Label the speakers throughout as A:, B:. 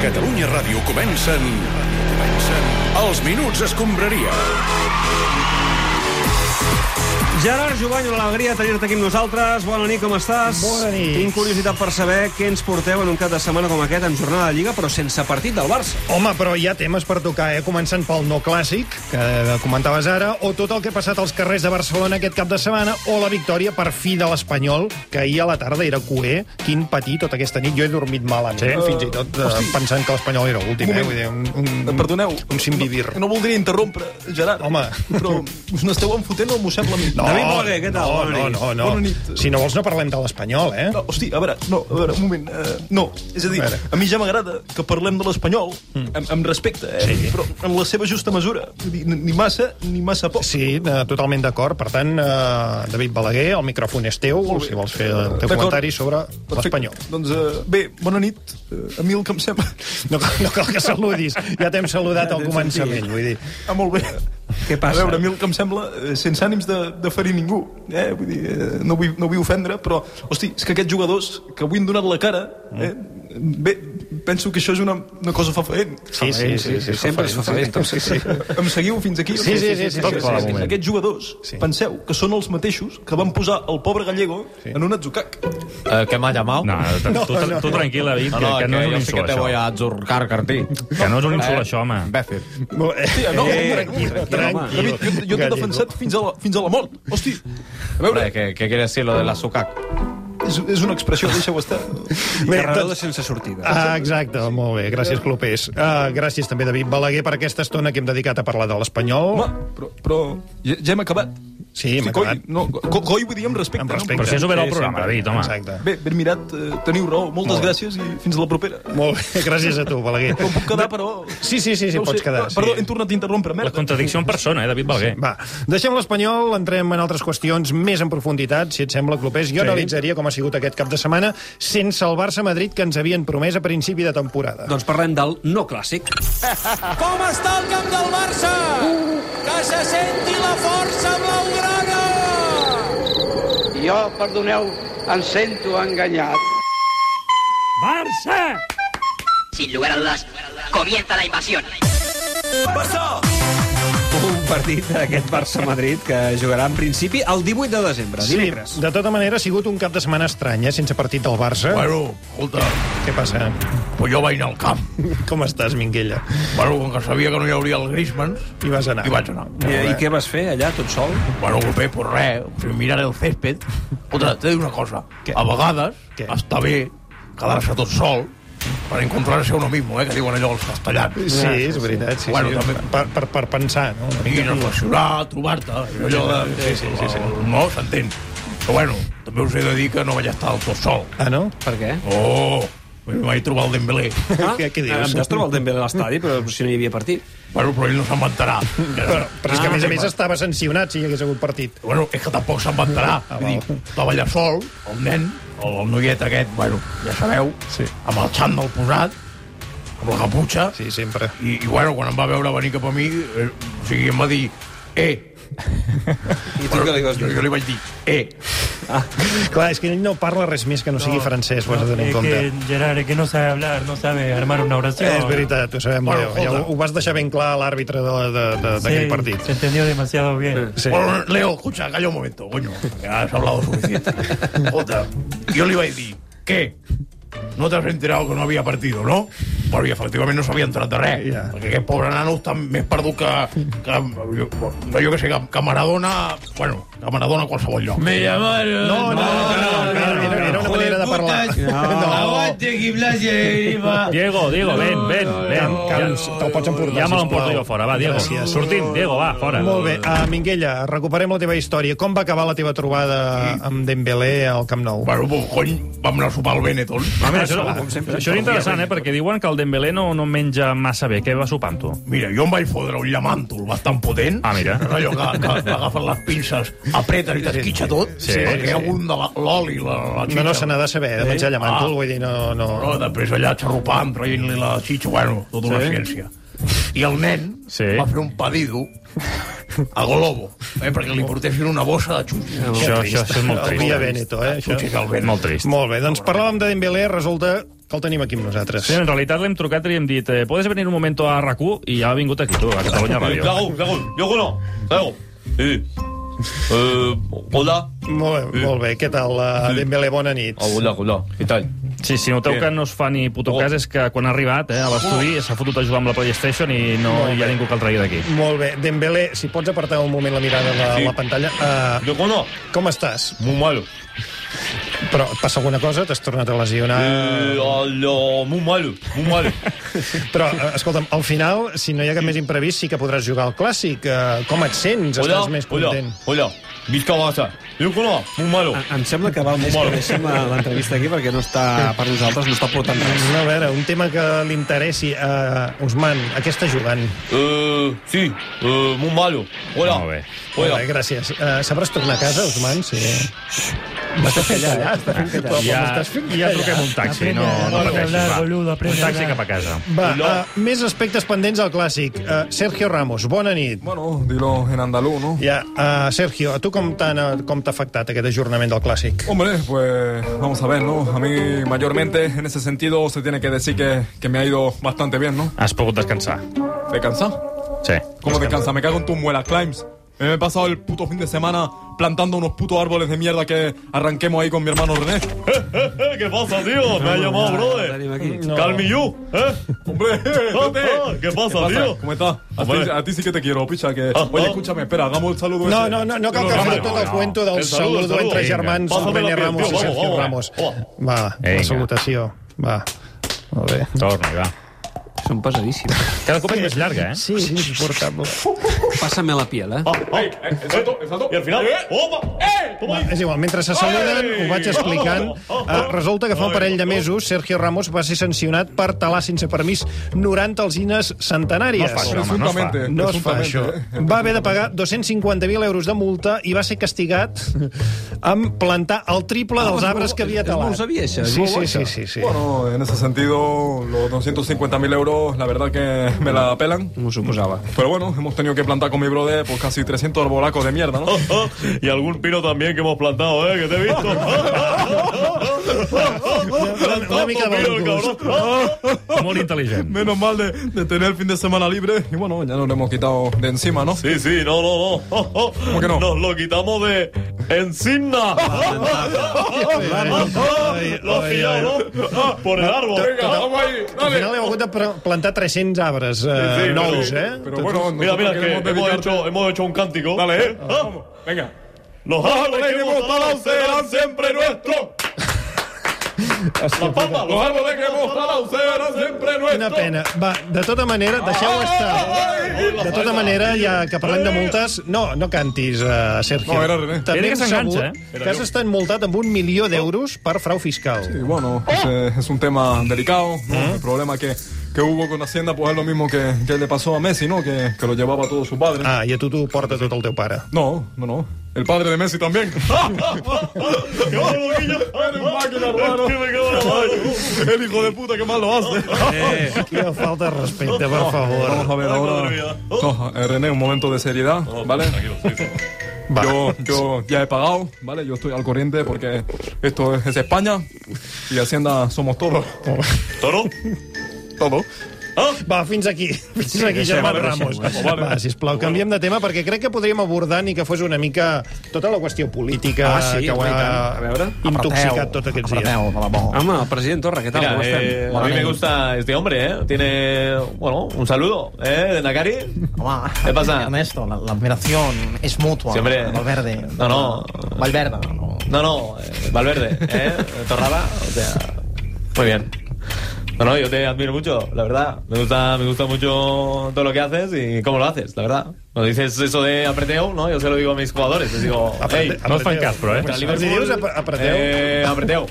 A: Catalunya Ràdio comencen... comencen... Els Minuts Escombraria.
B: Gerard Jovany, una alegria tenir-te aquí amb nosaltres. Bona nit, com estàs?
C: Bona nit.
B: Tinc curiositat per saber què ens porteu en un cap de setmana com aquest, en jornada de Lliga, però sense partit del Barça.
C: Home, però hi ha temes per tocar, eh? Començant pel no clàssic, que comentaves ara, o tot el que ha passat als carrers de Barcelona aquest cap de setmana, o la victòria per fi de l'Espanyol, que ahir a la tarda era cué. Quin patí tota aquesta nit. Jo he dormit malament, sí. fins i tot eh, pensant que l'Espanyol era l'últim. Eh?
D: moment.
C: Vull dir, un, un,
D: Em Perdoneu,
C: Un sinvivir.
D: No, no voldria interrompre, Gerard.
C: Home.
D: Però no esteu enfotent o m'ho sembla a mi?
B: David Bole, què tal?
C: No,
B: Bona
C: no,
B: nit.
C: no, no.
D: Bona nit.
C: Si no vols no parlem de l'Espanyol, eh?
D: No, hosti, a veure, no, a veure, un moment. Uh, no, és a dir,
C: A
D: a,
C: veure. Mm.
D: mi ja m'agrada que parlem de l'Espanyol amb, amb respecte, eh?
C: Sí.
D: però en la seva justa mesura. Vull dir, ni massa, ni massa poc.
C: Sí, eh, totalment d'acord. Per tant, eh, David Balaguer, el micròfon és teu,
D: Molt bé.
C: si vols fer el teu
D: D'acord.
C: comentari sobre l'Espanyol.
D: Doncs uh, bé, bona nit. Uh, a mi el que em sembla...
C: No, cal- no cal que saludis, ja t'hem saludat al
B: t'hem
C: començament, vull dir.
D: Ah, molt bé.
B: Què passa?
D: A veure, a mi el que em sembla, eh, sense ànims de, de ferir ningú, eh? vull dir, eh, no, vull, no vull ofendre, però, hosti, és que aquests jugadors que avui han donat la cara, eh? bé, penso que això és una, una cosa fafaent.
C: Mm. Sí, sí, sí, sí,
B: sempre es fa feliç, tot, sí, sí.
D: Em seguiu fins aquí?
C: Sí, sí, sí, sí, tot clar, de moment.
D: Aquests jugadors,
C: Sí.
D: penseu que són els mateixos que van posar el pobre gallego en un atzucac.
E: Eh, què m'ha llamat?
F: No, tu, tu, tu tranquil, David, que, que no és
E: yo
F: un
E: sí que
F: insult,
E: te voy
F: això.
E: a zurcar, Cartí.
F: Que no és un insult, això, home.
E: Imbècil.
D: Sí, no, eh,
C: tranquil.
D: David, jo, jo t'he
C: Gallego.
D: defensat fins a, la, fins a la mort. Hosti, a veure,
E: Hombre, ¿qué, ¿Qué quiere decir lo de la sucac?
D: és, és una expressió, deixa-ho estar.
C: Bé,
B: Carreró de
C: doncs,
B: sense sortida.
C: Ah, exacte, molt bé, gràcies Clopés. Uh, gràcies també David Balaguer per aquesta estona que hem dedicat a parlar de l'Espanyol.
D: Home, però, eh, però ja, ja hem acabat.
C: Sí, hem
D: coi,
C: acabat.
D: No, co, coi vull dir amb respecte.
C: Amb
F: Però
C: respecte.
F: si has obert el
C: Sí,
F: programa,
C: sempre.
F: David, home.
C: Exacte.
D: No? Bé, ben mirat, eh, teniu raó.
C: Molt
D: Moltes
C: bé.
D: gràcies i fins a la propera.
C: Molt bé, gràcies a tu, Balaguer.
D: No puc quedar, però...
C: Sí, sí, sí, sí
D: ho
C: pots
D: sé.
C: quedar.
D: No, Perdó,
C: sí.
D: hem tornat a interrompre,
F: La
D: merda.
F: contradicció en persona, eh, David Balaguer.
C: Va, deixem l'Espanyol, entrem en altres qüestions més en profunditat, si et sembla, Clopés. Jo
F: Sí.
C: sí. analitzaria com ha sigut aquest cap de setmana sense el Barça-Madrid que ens havien promès a principi de temporada.
B: Doncs parlem del no clàssic.
G: Com està el camp del Barça? Que se senti la força blaugrana!
H: Jo, perdoneu, em sento enganyat.
I: Sin lugar a dudas, comienza la invasión.
B: Un partit d'aquest Barça-Madrid que jugarà en principi el 18 de desembre, dimecres.
C: De tota manera, ha sigut un cap de setmana estrany, eh? sense partit del Barça.
J: Bueno, escolta,
C: Què passa?
J: pues jo vaig anar al camp.
C: Com estàs, Minguella?
J: Bueno, com que sabia que no hi hauria el Griezmann,
C: Hi vas anar?
J: hi vaig anar.
B: I, I què vas fer allà, tot sol?
J: Bueno, bé, pues res, fent mirar el césped. Escolta, t'he de dir una cosa.
C: Què?
J: A vegades
C: Què?
J: està bé quedar-se tot sol per encontrar-se uno mismo, eh, que diuen allò els castellans.
C: Sí, és veritat. Sí,
J: Bueno,
C: sí.
J: també-
C: Per, per, per pensar, no? Una
J: I
C: mica.
J: reflexionar, trobar-te, allò de... Sí, sí, sí, sí. No, s'entén. Però bueno, també us he de dir que no vaig estar del tot sol.
C: Ah, no?
B: Per què?
J: Oh, em vaig trobar el Dembélé.
C: Què, què dius?
B: Em vas trobar el Dembélé a l'estadi, però si no hi havia partit.
J: Bueno, però ell no se'n va enterar.
C: Però
J: Ah,
C: és que, a més a més, estava sancionat si hi hagués hagut partit.
J: Bueno, és que tampoc se'n va enterar.
C: Ah,
J: Vull
C: val.
J: dir, estava allà sol, el nen, el, el noiet aquest, bueno, ja sabeu,
C: Sí.
J: amb el xandall posat, amb la caputxa, sí.
C: Sí, sempre.
J: i, i bueno, quan em va veure venir cap a mi, eh, o sigui, em va dir, eh,
B: I tu què li vas
J: jo,
B: dir?
J: jo li vaig dir, eh,
C: Ah, Clar, és que ell no parla res més que no sigui francès, ho has de tenir en compte.
F: Eh, Gerard, que no sabe hablar, no sabe armar una oració.
C: És veritat, ho sabem
J: Bueno,
C: bueno, greu. Ja ho,
J: escolta.
C: ho vas deixar ben clar a l'àrbitre de- de- de- d'aquell partit.
F: entendió demasiado bien.
C: Sí.
J: Bueno, Leo, escucha, calla un momento, coño. Ya has hablado suficiente. Jota, yo le iba a decir, ¿qué? No te has enterado que no havia partido, no? Perquè efectivament no s'havia entrat de res.
C: Ja.
J: Perquè aquest pobre nano està més perdut que... que jo, jo que sé, que, que Maradona... Bueno, que Maradona a qualsevol lloc. Me llamaron...
C: No, no, no, no, no, no, era- era una manera de parlar. No,
F: Diego, Diego, ven, ven, ven.
C: Cal- cal- te'l pots emportar,
F: Ja me l'emporto
C: sisplau.
F: jo fora, va, Diego.
C: Gràcies.
F: Sortim, Diego, va, fora.
C: Molt bé, uh, Minguella, recuperem la teva història. Com va acabar la teva trobada amb Dembélé al Camp Nou?
J: Bueno, pues, cony, vam anar a sopar al Benetton. Ah,
F: A veure, Ah, això, això és interessant, eh, perquè diuen que el Dembélé no, no menja massa bé. Què va sopar amb tu?
J: Mira, jo em vaig fotre un llamàntol bastant potent.
F: Ah, mira.
J: Però allò que, que, que agafen les pinces, apreten i t'esquitxa tot.
F: Sí,
J: perquè
F: sí.
J: hi ha un de la- l'oli, la, la,
C: No, no,
J: xitxa.
C: se n'ha de saber, de menjar llamàntol,
J: Ah.
C: vull dir, no...
J: No,
C: no.
J: després allà xarrupant, traient-li la xitxa, bueno, tota una ciència. I el nen
F: Sí.
J: va fer un pedido a Globo, eh, perquè li portessin una bossa de xutxes.
F: Això, això, això és molt
C: El Via
F: trist.
C: Veneto, eh, això.
J: Xutxes al vent.
F: Molt trist.
C: Molt bé, doncs parlàvem de Dembélé, resulta que el tenim aquí amb nosaltres.
F: Sí, en realitat l'hem trucat i li hem dit eh, «Puedes venir un moment a RAC1?» i ja ha vingut aquí, tu, a Catalunya Ràdio.
K: Cago, cago, yo no. Cago. Sí. Eh, hola.
C: Molt bé, molt bé. Què tal, uh, Dembélé? Bona nit.
K: Oh, hola, hola. ¿Qué tal?
F: Sí, si noteu que no es fa ni puto cas és que quan ha arribat eh, a l'estudi s'ha fotut a jugar amb la PlayStation i no hi ha ningú que el traigui d'aquí.
C: Molt bé. Dembélé, si pots apartar un moment la mirada de
K: Sí.
C: la pantalla. Uh,
K: Yo no.
C: com estàs?
K: Muy malo.
C: Però et passa alguna cosa? T'has tornat a lesionar?
K: Eh, hola, muy malo, muy malo.
C: Però, eh, escolta'm, al final, si no hi ha cap més imprevist, sí que podràs jugar al clàssic. Eh, Com et sents?
K: Hola,
C: Estàs més
K: hola,
C: content?
K: hola. Visca Barça. Yo no, muy malo.
B: Em sembla que val més que
K: Molt.
B: deixem eh, l'entrevista aquí perquè no està, per nosaltres no està portant res.
C: No, a veure, un tema que li interessi. Uh, Usman, a què està jugant?
K: Eh, sí, eh, muy malo. Hola.
F: Molt bé.
K: Hola.
C: Hola, gràcies. Uh, sabràs tornar a casa, Usman? Sí. M'estàs fent callar, estàs fent callar. Però
F: Ja,
C: m'estàs fent
F: ja
C: callar.
F: truquem un taxi, no, no pateixis, va. Un
B: eh.
F: taxi cap a casa.
C: Va,
K: Hola.
C: uh, més aspectes pendents al clàssic. Uh, Sergio Ramos, bona nit.
L: Bueno, dilo pues, en andaluz, ¿no?
C: Ja, uh, Sergio, a tu com t'han- com t'ha afectat aquest ajornament del clàssic?
L: Hombre, pues vamos a ver, ¿no? A mí mayormente en ese sentido se tiene que decir que, que me ha ido bastante bien, ¿no?
F: Has pogut descansar.
L: ¿Descansar?
F: Sí.
L: ¿Cómo descansa? Me cago en tus muelas, Climbs. Me he pasado el puto fin de semana plantando unos putos árboles de mierda que arranquemos ahí con mi hermano René.
K: ¿Qué pasa, tío? Me ha llamado, brother.
B: Tenim aquí.
K: Calmillú, ¿eh?
L: Hombre,
K: Opa, ¿Qué pasa, tío?
L: ¿Cómo estás? A ti,
K: Hombre.
L: a ti sí que te quiero, picha, que...
K: Ah,
L: Oye,
K: ah.
L: escúchame, espera, hagamos el saludo
C: No,
L: ese.
C: no, no, no cal que
L: Pero
C: fem
L: Ramos,
C: tot el
F: no.
C: cuento del
K: El saludo,
C: saludo,
K: el saludo.
C: entre
K: Vinga.
C: germans,
K: Pásame
C: René
K: la piel,
C: Ramos
K: tio,
C: i
K: vamos,
C: Sergio
K: vamos,
C: Ramos.
K: vamos.
C: Va, la
F: Vinga.
C: salutació. Va. Molt bé.
F: Torna, va.
B: Són pesadíssims.
F: Cada cop és més llarga, eh?
C: Sí, sí, insuportable.
B: Pásame la piel, eh?
L: Ey, eh, exacto, exacto.
K: Y al final, ¡opa! ¡Eh! Toma ahí.
C: És igual, mentre se saluden, ho vaig explicant. Eh, resulta que fa un parell de mesos Sergio Ramos va ser sancionat per talar sense permís 90 alzines centenàries.
F: No fa això.
L: Presuntamente.
C: No es fa això.
L: presuntamente, eh.
C: Va haver de pagar 250.000 euros de multa i va ser castigat amb plantar el triple
K: Ah, pues,
C: dels arbres que havia
B: Ah, és molt
C: talat.
B: sabia, això, és
C: Sí,
B: molt bo,
C: sí, sí,
B: això.
C: sí, sí.
L: Bueno, en ese sentido, los 250.000 euros, la verdad que me la pelan.
B: M'ho suposava.
L: Pero bueno, hemos tenido que plantar con mi brother pues casi 300 arbolacos de mierda, ¿no?
K: Y algún pino también que hemos plantado, ¿eh? Que te he visto.
C: Una, una mica de bon gust.
F: Molt intel·ligent.
L: Menos mal de, de tener el fin de semana libre. Y bueno, ya nos lo hemos quitado de encima, ¿no?
K: Sí, sí, no, no, no.
L: que no?
K: Nos lo quitamos de encina.
C: Ah,
K: Lo has pillado, ¿no? Por el árbol.
C: Al final heu hagut de pre- plantar 300 arbres
K: Sí,
C: eh,
K: sí,
C: nous,
K: però-
C: eh?
L: Pero bueno,
K: Mira,
L: nosotros
K: mira, que
L: queremos
K: hemos
L: dedicarte-
K: hecho, hemos hecho un cántico. Dale, ¿eh? Vamos.
L: Venga.
K: Los árboles que hemos talado serán siempre nuestros. Las papas, los árboles que hemos talado serán siempre
C: Quina
K: nuestros. Ah,
C: pena. Va, de tota manera, deixeu estar. De tota manera, ja que parlem
K: eh.
C: de multes... No, no cantis, uh, Sergio.
L: No, era René.
C: També
F: Era que
C: hem
F: s'enganxa,
C: sabut
F: eh?
C: Que has estat multat amb un milió d'euros per frau fiscal.
L: Y bueno, pues, eh, es un tema delicado, ¿no?
K: Ah.
L: El problema que, que hubo con Hacienda, pues es lo mismo que, que le pasó a Messi, ¿no? Que, que lo llevaba todo su padre.
C: Ah, i a tu t'ho porta tot el teu pare.
L: No, no, no. El padre de Messi también.
K: ¡Qué bueno, niño!
L: Eres máquina, hermano.
K: ¡Que me cago en la madre!
L: El hijo de puta que mal lo hace.
C: Quina falta de respecte, per
L: Vamos
C: favor.
L: a ver
K: Ay,
L: ahora.
K: madre mía.
L: No, eh, René, un momento de seriedad, ¿vale?
C: Va.
L: Yo, yo ya he pagado, ¿vale? Yo estoy al corriente porque esto es, es España y Hacienda somos todos.
K: ¿Toro?
L: Todos.
F: Oh!
C: Va, fins aquí. Fins aquí, Germán Ramos. Va, sisplau, canviem de tema, perquè crec que podríem abordar ni que fos una mica tota la qüestió política
B: Ah, sí,
C: que ho
B: home, i
C: ha
B: tant. A veure.
C: intoxicat tots aquests dies.
B: Home, el president Torra, què tal?
E: Mira,
B: Com
E: eh,
B: estem?
E: a mí me gusta este hombre, ¿eh? Tiene, bueno, un saludo, ¿eh? De Nakari. ¿Qué pasa?
M: Ernesto, la, la admiración es mutua.
E: Siempre.
M: Valverde.
E: No, no.
M: Valverde. no.
E: No, no, eh, Valverde, ¿eh? Torrada, o sea, muy bien. No, no, yo te admiro mucho, la verdad. Me gusta, me gusta mucho todo lo que haces y cómo lo haces, la verdad. Cuando dices eso de apreteo, ¿no? Yo se lo digo a mis jugadores, les digo, hey,
F: No es fan cas, però, eh?
E: contra
C: Els
E: Liverpool,
C: dius ap- apreteu?
E: Eh, apreteu.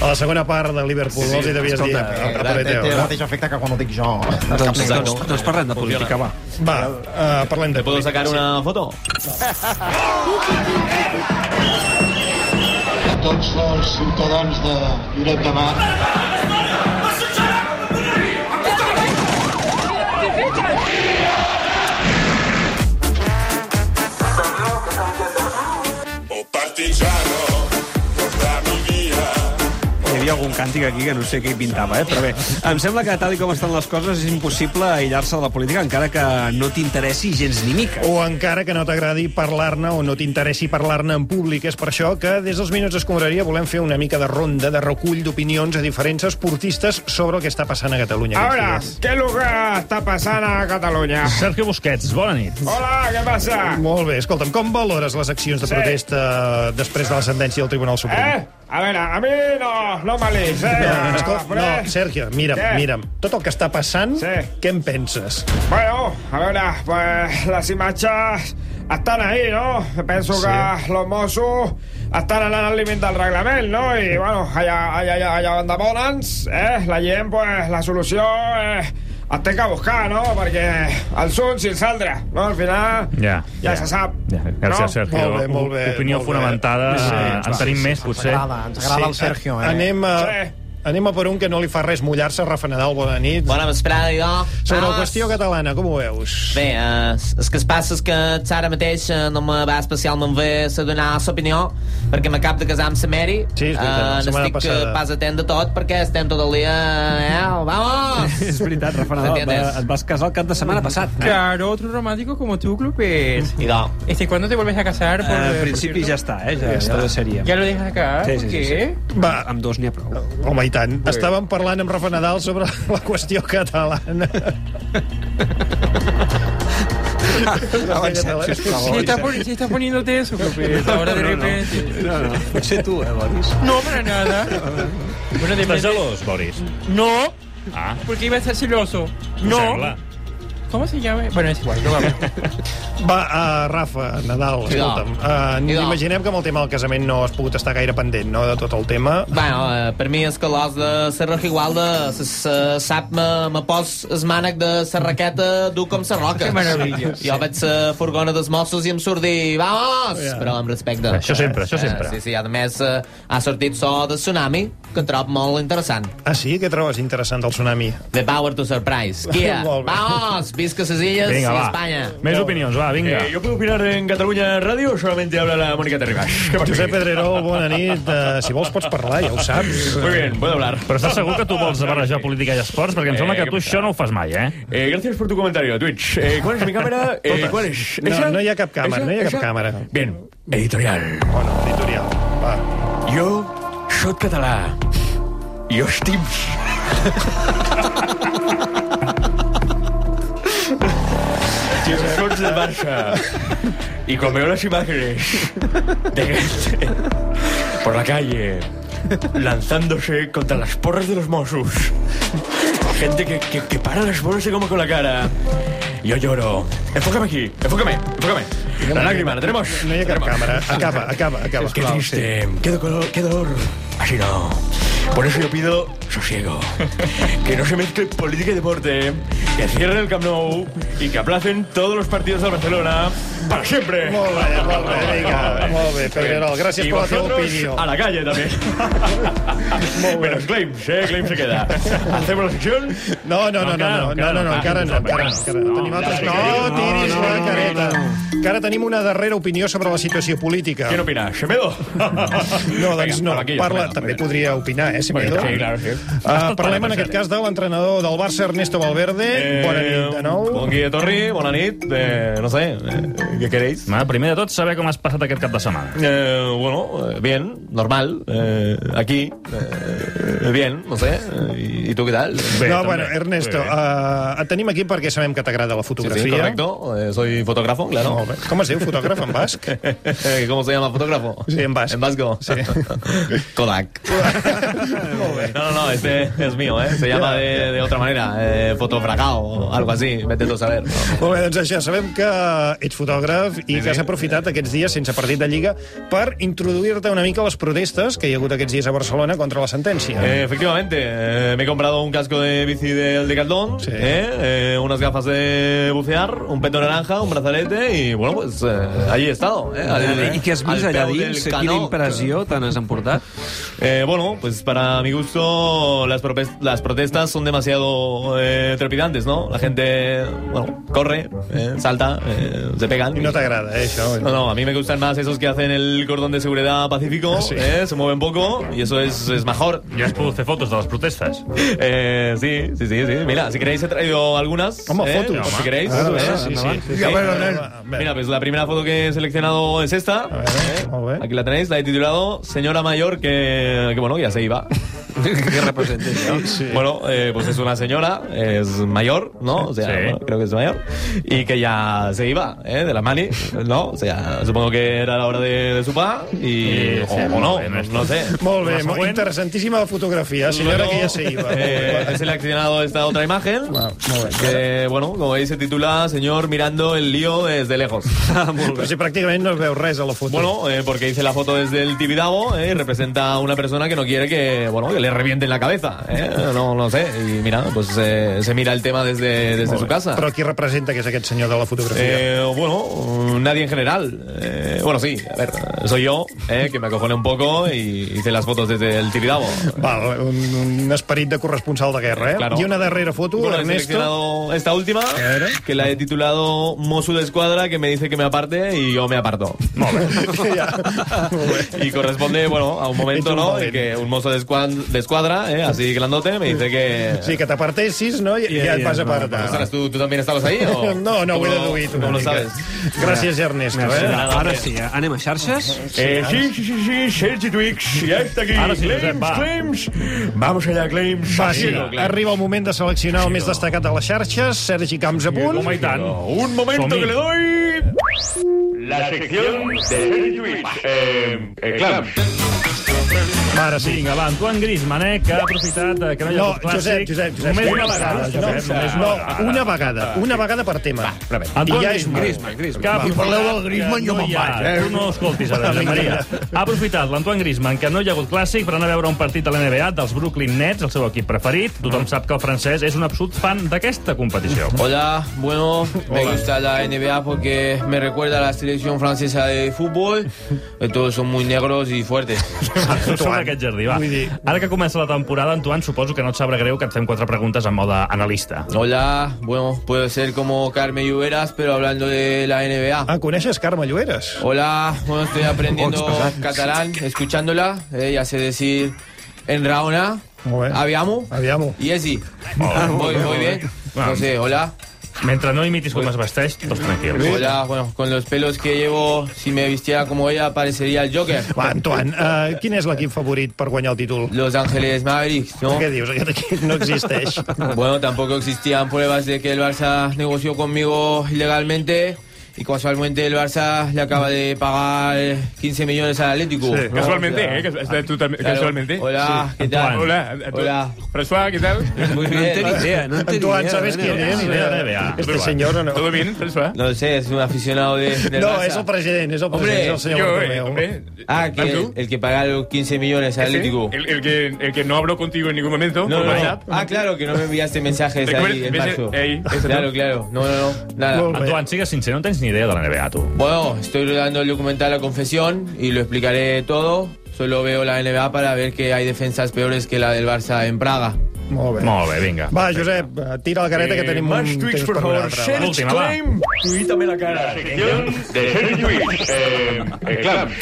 C: A la segona part de Liverpool sí, els hi devies dir...
M: Eh,
C: eh,
M: té, té el
C: Apreteu.
M: mateix efecte que quan ho dic jo.
B: Doncs,
E: Exacte.
B: doncs, doncs parlem de política, va.
C: Va, uh, parlem de...
E: ¿Te puedo sacar una foto?
M: Tots els ciutadans de Lloret de Mar
G: Oh partigiano, portami via.
B: Hi hi ha algun càntic aquí que no sé què hi pintava, eh? però bé, em sembla que tal i com estan les coses és impossible aïllar-se de la política encara que no t'interessi gens ni mica.
C: O encara que no t'agradi parlar-ne o no t'interessi parlar-ne en públic. És per això que des dels Minuts Escombraria volem fer una mica de ronda, de recull d'opinions a diferents esportistes sobre el que està passant a Catalunya. aquests
N: Ahora,
C: dies.
N: ¿qué lugar está pasando a Cataluña?
F: Sergio Busquets, bona nit.
N: Hola, ¿qué pasa?
C: Molt bé, escolta'm, com valores les accions de
N: Sí.
C: protesta després de la sentència del Tribunal Suprem?
N: ¿Eh? A ver, a mí no, no me lees, ¿eh?
C: No, escolta,
N: Hombre.
C: no, Sergio, mira'm,
N: Què?
C: mira'm. Tot el que està passant, què en penses?
N: Bueno, a ver, pues las imatges estan ahí, no? Penso
C: Sí.
N: que los Mossos estan anant al límit del reglament, no? I, bueno, allà, allà, allà, allà on demana'ns, eh? La gent, pues, la solució eh, es té que buscar, no? Perquè els uns i els altres, no? Al final
F: Ja.
N: ja, se sap.
F: Ja, gràcies,
N: No?
F: Sergio.
N: Molt bé, molt bé,
F: Opinió
N: molt bé.
F: fonamentada.
C: Ah,
N: Sí,
F: eh, en
N: sí,
F: tenim
N: sí,
F: més,
N: ens
F: potser.
N: agrada, eh. ens
C: Sí, a- Anem a... Anem a per un que no li fa res mullar-se, Rafa Nadal, bona nit.
M: Bona vesprada, idò.
C: Sobre la
M: Vamos.
C: qüestió catalana, com ho veus?
M: Bé, eh, el que es passa és que ara mateix eh, no me va especialment bé sa donar l'opinió, perquè m'acab de casar amb la Mary. Sí,
C: és veritat, la setmana
M: N'estic
C: passada.
M: eh, pas atent de tot, perquè estem tot el dia... Eh, vamos!
B: És veritat, Rafa Nadal, va,
M: ¿Entiendes?
B: et vas casar el cap de setmana passat.
L: Claro, otro romántico como tú, Clupes.
M: Y da.
L: Este, ¿Cuándo te vuelves a casar?
C: Ah,
L: Por,
B: En
L: por
B: Eh, principi
L: cierto?
B: ja està, eh? Ja,
L: Ja
B: ja,
L: està.
B: ja seria.
L: ¿Ya lo dejas acá?
B: Sí,
L: ¿Por
B: sí, sí,
L: qué?
B: sí.
C: Va,
B: amb dos n'hi ha prou.
C: Home, i tant. Estàvem parlant amb Rafa Nadal sobre la qüestió catalana.
B: Avancem, sisplau.
L: Sí, está poni- sí está poniéndote eso, Clupes. Ahora de repente.
B: No, no, potser tu, eh, Boris?
L: No, para nada. Bueno, de
F: Estàs
L: repente-
F: gelós, Boris?
L: No,
F: Ah,
L: porque iba a estar celoso.
F: em
L: No.
F: sembla.
L: ¿Cómo se llama? Bueno, es igual, no vamos.
C: Va, uh, Rafa, Nadal,
M: Idò.
C: escolta'm. Uh,
M: Idò.
C: imaginem que amb el tema del casament no has pogut estar gaire pendent, no?, de tot el tema.
M: Bueno, eh, per mi és que l'os de Serra Igualda se, se, sap, me, me pos es mànec de la raqueta dur com la roca.
L: Que meravella.
M: Jo veig la furgona dels Mossos i em surt dir, vamos!
L: Ja.
M: Però amb respecte.
L: Això sempre, això
M: Eh,
L: sempre.
M: Sí, sí, a més eh, ha sortit so de tsunami, que trob molt interessant.
C: Ah, sí? Què trobes interessant del tsunami?
M: The power to surprise. Kia,
C: Molt bé.
M: vamos! Visca les illes
F: Vinga,
M: i
F: va.
M: Espanya.
F: Més opinions, va, vinga.
E: Eh, ¿Yo puedo opinar en Cataluña Radio o solamente habla la Mónica Terribas? ¿Qué pasa?
C: Josep Pedrerol, bona nit. Uh, si vols pots parlar, ja ho saps.
E: Muy bien, puedo hablar.
F: Però estàs segur que tu vols barrejar política i esports? Perquè em sembla
E: Eh,
F: que
E: què
F: tu això no ho fas mai, eh?
E: Eh, gracias por tu comentario, Twitch. Eh, ¿Cuál es mi cámara? Eh,
C: Totes.
E: ¿Cuál es?
C: No,
E: ¿Esa?
C: no hi ha cap càmera,
E: ¿Esa?
C: no hi ha cap
E: ¿Esa?
C: càmera.
E: Bien, editorial.
C: Bueno, editorial, va.
E: Jo sóc català. I els tips... Tips de Barça. Y con veo las imágenes de gente por la calle lanzándose contra las porras de los Mossos. Gente que, que, que para las bolas de goma con la cara. Yo lloro. Enfócame aquí, enfócame, enfócame. La lágrima, la tenemos.
C: No hi ha cap càmera. Acaba, acaba, acaba.
E: Qué triste, qué dolor, qué dolor. Así no. Por eso yo pido sosiego. que no se mezcle política y deporte. Que cierren el Camp Nou y que aplacen todos los partidos del Barcelona para siempre.
C: Molt bé, molt bé, vinga, molt bé, Pedrerol, gràcies
E: y
C: per la teva
E: vosotros
C: opinió.
E: a la calle también. Menos Claims, ¿eh? Claims se queda. ¿Hacemos la sección?
C: No, no, no, no, no, no, no, no, encara no, encara no. encara no. Tenim altres... No, tiris la careta. Encara tenim una darrera opinió sobre la situació política.
E: ¿Quién opina? ¿Semedo?
C: No, doncs no. Parla, també podria opinar, eh, si m'he
E: Bueno, sí, claro, sí.
C: Uh, parlem en aquest cas de l'entrenador del Barça, Ernesto Valverde. Bona nit de nou.
E: Eh, Bon dia, Torri, bona nit. Eh, no sé, eh, què queréis?
F: Ma, primer de tot, saber com has passat aquest cap de setmana.
E: Eh, bueno, eh, bien, normal. Eh, aquí, eh, bien, no sé. Eh, ¿Y, y tú qué tal?
C: no, bueno, Ernesto, uh, et tenim aquí perquè sabem que t'agrada la
E: Sí,
C: fotografia.
E: sí, correcto. Eh, soy fotógrafo, claro.
C: Molt bé. Com es diu, fotògraf en basc?
E: ¿Cómo se llama el fotógrafo?
C: Sí, en basc.
E: En vasco. Kodak. No, no, no, este es mío, ¿eh? Se llama de, de otra manera. Eh, fotofragao o algo así. Vete tú a saber.
C: Molt bé, doncs això, sabem que ets fotògraf i que has aprofitat aquests dies sense partit de Lliga per introduir-te una mica a les protestes que hi ha hagut aquests dies a Barcelona contra la sentència.
E: Eh, efectivamente, eh, me he comprado un casco de bici del Decathlon, eh, eh, unas gafas de bucear, un peto naranja, un brazalete y bueno, pues eh, allí he estado. Eh, al-
B: I què has vist
E: al
B: allà
E: peu
B: dins?
E: del
B: Quina
E: canó.
B: impressió te n'has emportat?
E: Eh, bueno, pues para mi gusto las, propes- las protestas son demasiado eh, trepidantes, ¿no? La gente, bueno, corre, eh, salta, eh, se pegan,
C: Y no te agrada, eh, això.
E: No, no, a mí me gustan más esos que hacen el cordón de seguridad
C: Ah,
E: pacífico, ¿eh? se mueven poco y eso es, es mejor. Ya has produce fotos de las protestas. Eh, sí, sí, sí, sí. Mira, si queréis he traído algunas.
C: Home,
E: ¿eh?
C: fotos.
E: Si queréis.
C: Ah,
E: ¿eh?
C: sí, sí, sí, sí. A ver, a ver.
E: Mira, pues la primera foto que he seleccionado es esta. ¿eh? Aquí la tenéis, la he titulado Señora Mayor que, que bueno, ya se iba. que represente. ¿no? Bueno, eh, pues es una señora, es mayor, ¿no? O sea, bueno, creo que es mayor. Y que ya se iba, ¿eh? De la mani, ¿no? O sea, supongo que era la hora de, de su pa y... o, o no, no, no sé.
C: Molt bé,
E: La
C: molt
E: següent.
C: interessantíssima la fotografia. Senyora
E: Luego,
C: que ja se iba.
E: Eh, he seleccionado esta otra imagen. Que, bueno, como veis, se titula Señor mirando el lío desde lejos.
C: Però si Pues pràcticament no es veu res a la foto.
E: Bueno, eh, porque hice la foto desde el Tibidabo eh, y representa a una persona que no quiere que, bueno, que le revienten la cabeza. eh, No, no sé. Y mira, pues eh, se mira el tema desde, desde su casa.
C: Però qui representa que és aquest senyor de la fotografia?
E: Eh, bueno, nadie en general. Eh, bueno, sí, a ver, soy yo, eh, que me acojoné un poco y hice las fotos desde el Tibidabo.
C: Val, un, un esperit de corresponsal de guerra, eh?
E: Claro.
C: I una darrera foto,
E: Bueno, he
C: Ernesto...
E: seleccionado esta última, que la he titulado Mosu de Escuadra, que me dice que me aparte y yo me aparto. y corresponde, bueno, a un momento,
C: Hecho un
E: ¿no?
C: momento.
E: En que un mozo de, escuad- de escuadra, ¿eh? así grandote, me dice que...
C: Sí, que t'apartessis, no? I, ja et vas apartar.
E: Ostras, ¿tú, tú también estabas ahí? O...
C: No, no, ho he
E: ¿Cómo lo-
C: deduït una
E: ¿Cómo lo
C: mica.
E: sabes?
C: Gràcies, Ernesto.
B: Merci.
C: Eh?
B: Ara, ara sí, eh? anem a xarxes?
L: Eh, sí, sí, sí, sí, Sergi Twix, ya está aquí.
B: Ahora sí,
L: claims,
B: Josep, va.
L: claims. Vamos allá, claims.
C: Va, sí, arriba el moment de seleccionar el més destacat de les xarxes. Sergi Camps a punt.
L: Home, i tant. Un momento que le doy. La sección de Sergi Twix. Eh, clams.
C: Ara sí.
F: Vinga, va, Antoine Griezmann, eh, que ha aprofitat eh, que no hi ha
C: No,
F: hagut
C: Josep,
F: clàssic.
C: Josep, Josep.
F: Només una vegada,
C: No,
F: Josep, només una
C: no,
F: vegada.
C: una vegada. Una vegada per tema. Va, I
F: Antoine
C: ja és molt.
F: Griezmann, Griezmann.
C: I parleu del Griezmann, jo
F: no
C: me'n
F: hi ha-
C: vaig, eh?
F: Tu no escoltis, ara, Josep Maria. Ha aprofitat l'Antoine Griezmann, que no hi ha hagut clàssic, per anar a veure un partit de l'NBA dels Brooklyn Nets, el seu equip preferit. Tothom sap que el francès és un absolut fan d'aquesta competició.
O: Hola, bueno, me gusta la NBA porque me recuerda a la selección francesa de fútbol. Eh, Todos son muy negros y fuertes.
F: Sobre aquest jardí, va. Ara que comença la temporada, Antoine, suposo que no et sabrà greu que et fem quatre preguntes en mode analista.
O: Hola, bueno, puedo ser como Carmen Lluveras, pero hablando de la NBA.
C: Ah, ¿conoces Carmen Lluveras?
O: Hola, bueno, estoy aprendiendo
C: Oh,
O: catalán, escuchándola. Eh, ya sé decir en Raona,
C: Molt bé.
O: Aviamo
C: Aviamo.
O: y Esi. Voy, voy bien.
F: Va.
O: No sé, hola.
F: Mentre no imitis com es vesteix, tots tranquils.
O: Hola, bueno, con los pelos que llevo, si me vistiera como ella, parecería el Joker.
C: Va, Antoine, uh, quin és l'equip favorit per guanyar el títol?
O: Los Ángeles Mavericks, ¿no?
C: Què dius? Aquest equip no existeix.
O: Bueno, tampoco existían pruebas de que el Barça negoció conmigo ilegalmente y casualmente el Barça le acaba de pagar 15 millones al Atlético. ¿no?
L: Casualmente,
O: O sea,
L: ¿eh? Cas- hasta tú también,
O: Claro.
L: casualmente.
O: Hola, ¿qué tal?
L: Hola. a- a-
O: Hola.
L: François, ¿qué tal?
O: Muy bien.
C: Antoine, ¿sabes quién es? Este señor o no?
L: ¿Todo bien, François?
O: No sé, es un aficionado de, del
C: No,
O: Barça.
C: és el president, és el president, és el senyor
L: yo, eh,
C: Bartomeu.
L: hombre,
O: Ah, que el,
L: ¿Tú?
O: el que paga los 15 millones al
L: ese,
O: Atlético.
L: el, el que, el que no habló contigo en ningún momento.
O: No,
L: por
O: no, no.
L: WhatsApp.
O: Ah, claro, que no me enviaste mensajes ahí
L: Recuerda-
O: en
L: ves-
O: marzo.
L: ahí, ese
O: Claro,
L: tú.
O: claro. No, no, no. Nada.
F: Antoine, sigues sincer, no tens ni idea de la NBA, tu.
O: Bueno, estoy rodando el documental La Confesión y lo explicaré todo. Solo veo la NBA para ver que hay defensas peores que la del Barça en Praga.
C: Molt bé.
F: Molt bé, vinga.
C: Va, Josep, eh, tira la careta que tenim un temps per una altra. va.
L: Tuítame la cara. La sección de Sergi Twitch. Eh, eh, clams.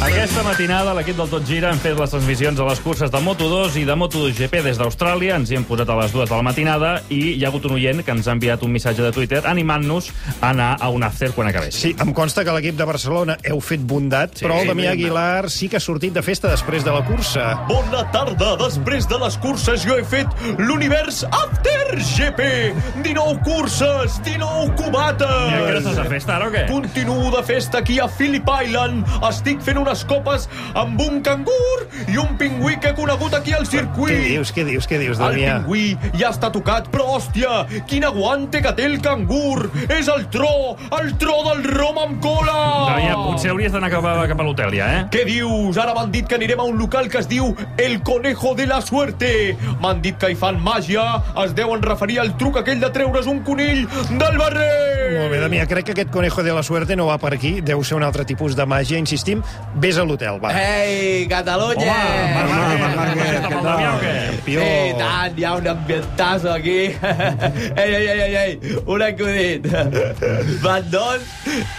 F: Aquesta matinada l'equip del Tot Gira han fet les transmissions a les curses de Moto2 i de Moto2GP des d'Austràlia. Ens hi hem posat a les dues de la matinada i hi ha hagut un oient que ens ha enviat un missatge de Twitter animant-nos a anar a un after quan acabés.
C: Sí, em consta que l'equip de Barcelona heu fet bondat, sí, però el Damià
F: sí.
C: Aguilar sí que ha sortit de festa després de la cursa.
K: Bona tarda. Després de les curses jo he fet l'univers After GP. 19 curses, 19 cubates.
F: I encara estàs de festa, ara, o què?
K: Continuo de festa aquí a Phillip Island. Estic fent unes copes amb un cangur i un pingüí que he conegut aquí al circuit.
C: Què dius, què dius, què dius,
K: El
C: Damià?
K: pingüí ja està tocat, però hòstia, quin aguante que té el cangur! És el tro, el tro del rom amb cola!
F: Damià, potser hauries d'anar cap, a- cap a l'hotel ja, eh?
K: Què dius? Ara m'han dit que anirem a un local que es diu El Conejo de la Suerte. M'han dit que hi fan màgia, es deuen referir al truc aquell de treure's un conill del barrer.
C: Molt bé, Damià, crec que aquest conejo de la suerte no va per aquí, deu ser un altre tipus de màgia, insistim. Vés a l'hotel, va.
O: Ei, Catalunya!
C: Ah,
K: Eh,
C: Campió.
O: I tant, hi ha un ambientazo aquí. ei, ei, ei, ei, ei, un acudit. Van dos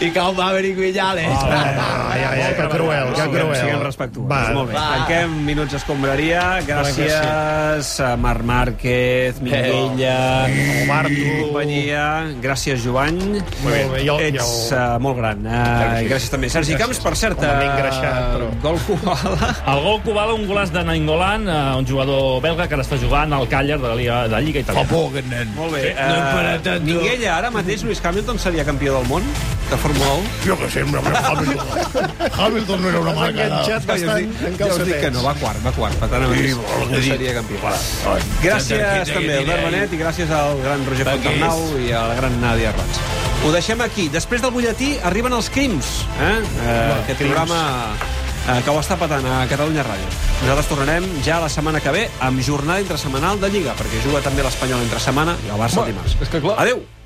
O: i cau Maverick Villales.
K: eh?
C: Ah, Ai, ai, ai, que cruel, que
B: Siguem,
C: cruel.
B: siguem respectuosos.
C: Va.
B: Molt bé.
C: Va.
B: Tanquem Minuts Escombraria. Gràcies a Marc Márquez, Minguella, Omar i companyia. Gràcies, Joan.
C: Molt bé. I el- i el-
B: Ets eh, molt gran. Eh, gràcies també. Sergi
F: Gràcies.
B: Camps, per cert,
F: Home, ben
B: eh,
F: engreixat,
B: gol Kubala.
F: El gol Kubala, un golaç de Nainggolan, eh, un jugador belga que ara està jugant al Càller de la Lliga, de la Lliga Italiana.
J: Fa por, aquest nen.
B: Molt bé.
F: Sí, no hem parat
B: Eh,
F: tant, no.
B: Minguella, ara mateix Lewis Hamilton seria campió del món de Fórmula 1?
J: Jo que sé, però Hamilton, Hamilton no era una marca.
B: Ja us dic- ja us dic que no, va quart, va quart. Per tant,
J: Sí,
B: abans
J: vol
B: no
J: dir.
B: seria campió. Doncs Gràcies també al Albert Benet i gràcies al gran Roger Fontarnau i a la gran Nàdia Roig. Ho deixem aquí. Després del butlletí arriben els crims. Eh? Eh, aquest
A: crims.
B: programa eh, que ho està patant a Catalunya Ràdio. Nosaltres tornarem ja la setmana que ve amb jornada intrasemanal de Lliga, perquè juga també l'Espanyol entre setmana i el Barça dimarts. És que clar. Adéu!